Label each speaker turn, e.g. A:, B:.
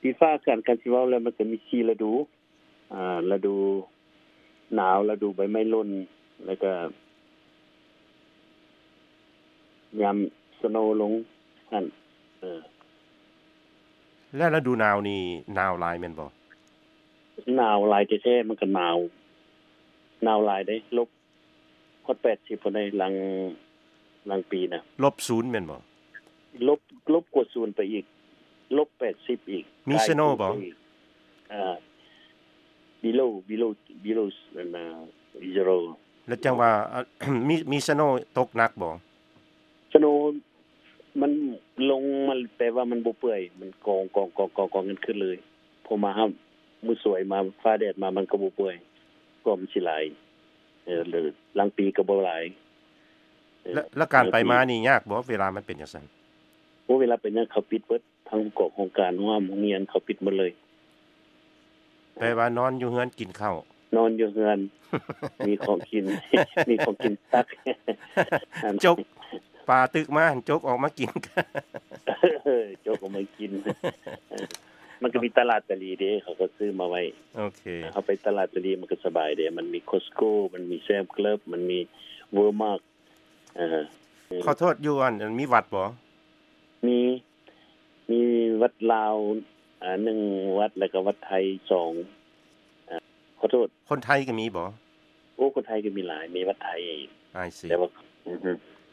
A: ฟีฟ่าการการชิเวาแล้วมันจะมีชีฤดู อ่าฤดูหนาวฤดูใบไม้ร่นแล้วก็ยามสโนว์ลงหั่นเออ
B: แล้วฤดูหนาวนี่หนาวหลายแม่นบ่
A: หนาวหลายแท้ๆมันก็หนาวหนาวหลายได้ลบฮอด80พุ่นได้หลังหลังปีน่ะ
B: ลบศูนย์แม่นบ่
A: ลบลบกว่าศูนย์ไปอีก ลบแปดสิบอีก
B: มี Snow บ่
A: อ่า below below below นะ zero
B: แล้วจังว่า อ่ะ มีมีสโนว์ตกหนักบ่
A: snow มันลงมันแปลว่ามันบ่เปื่อย มันกองกองกองกองกองกันขึ้นเลยพอมาครับมือสวยมาฟ้าแดดมามันก็บ่เปื่อยก็มันสิหลายเออหรือหลังปีก็บ่หลายเออ
B: แล้วแล้วการไปมานี่ยากบ่เวลามันเป็นจังซั่น
A: เพราะเวลาเป็นนั้นเขาปิดเบิดทั้งกอกโครงการห้ามโรงเรียนเขาปิดหมดเลย
B: แปลว่านอนอยู่เฮือนกินข้าวน
A: อนอยู่เฮือน มีของกิน มีของกินตัก อัน
B: จกปลาตึกมาจกออกมากิน
A: เออ โจกก็มากิน เออมันก็มีตลาดตะลีเด้เขาก็ซื้อมาไว้
B: โอเค
A: เขาไปตลาดตะลีมันก็สบายเด้มันมีโคสโก้ มันมีแซมเคลับมันมีเวอร์มาร์กเออ
B: ขอโทษอยู่อันอันมีวัดบ่
A: มีมีวัดลาวอ่าหนึ่งวัดแล้วก็วัดไทยสองอ่าขอโทษ
B: คนไทยก็มีบ่
A: โอ้คนไทยก็มีหลาย มีวัดไทย
B: อายสิ
A: แต่ว่าอือฮึ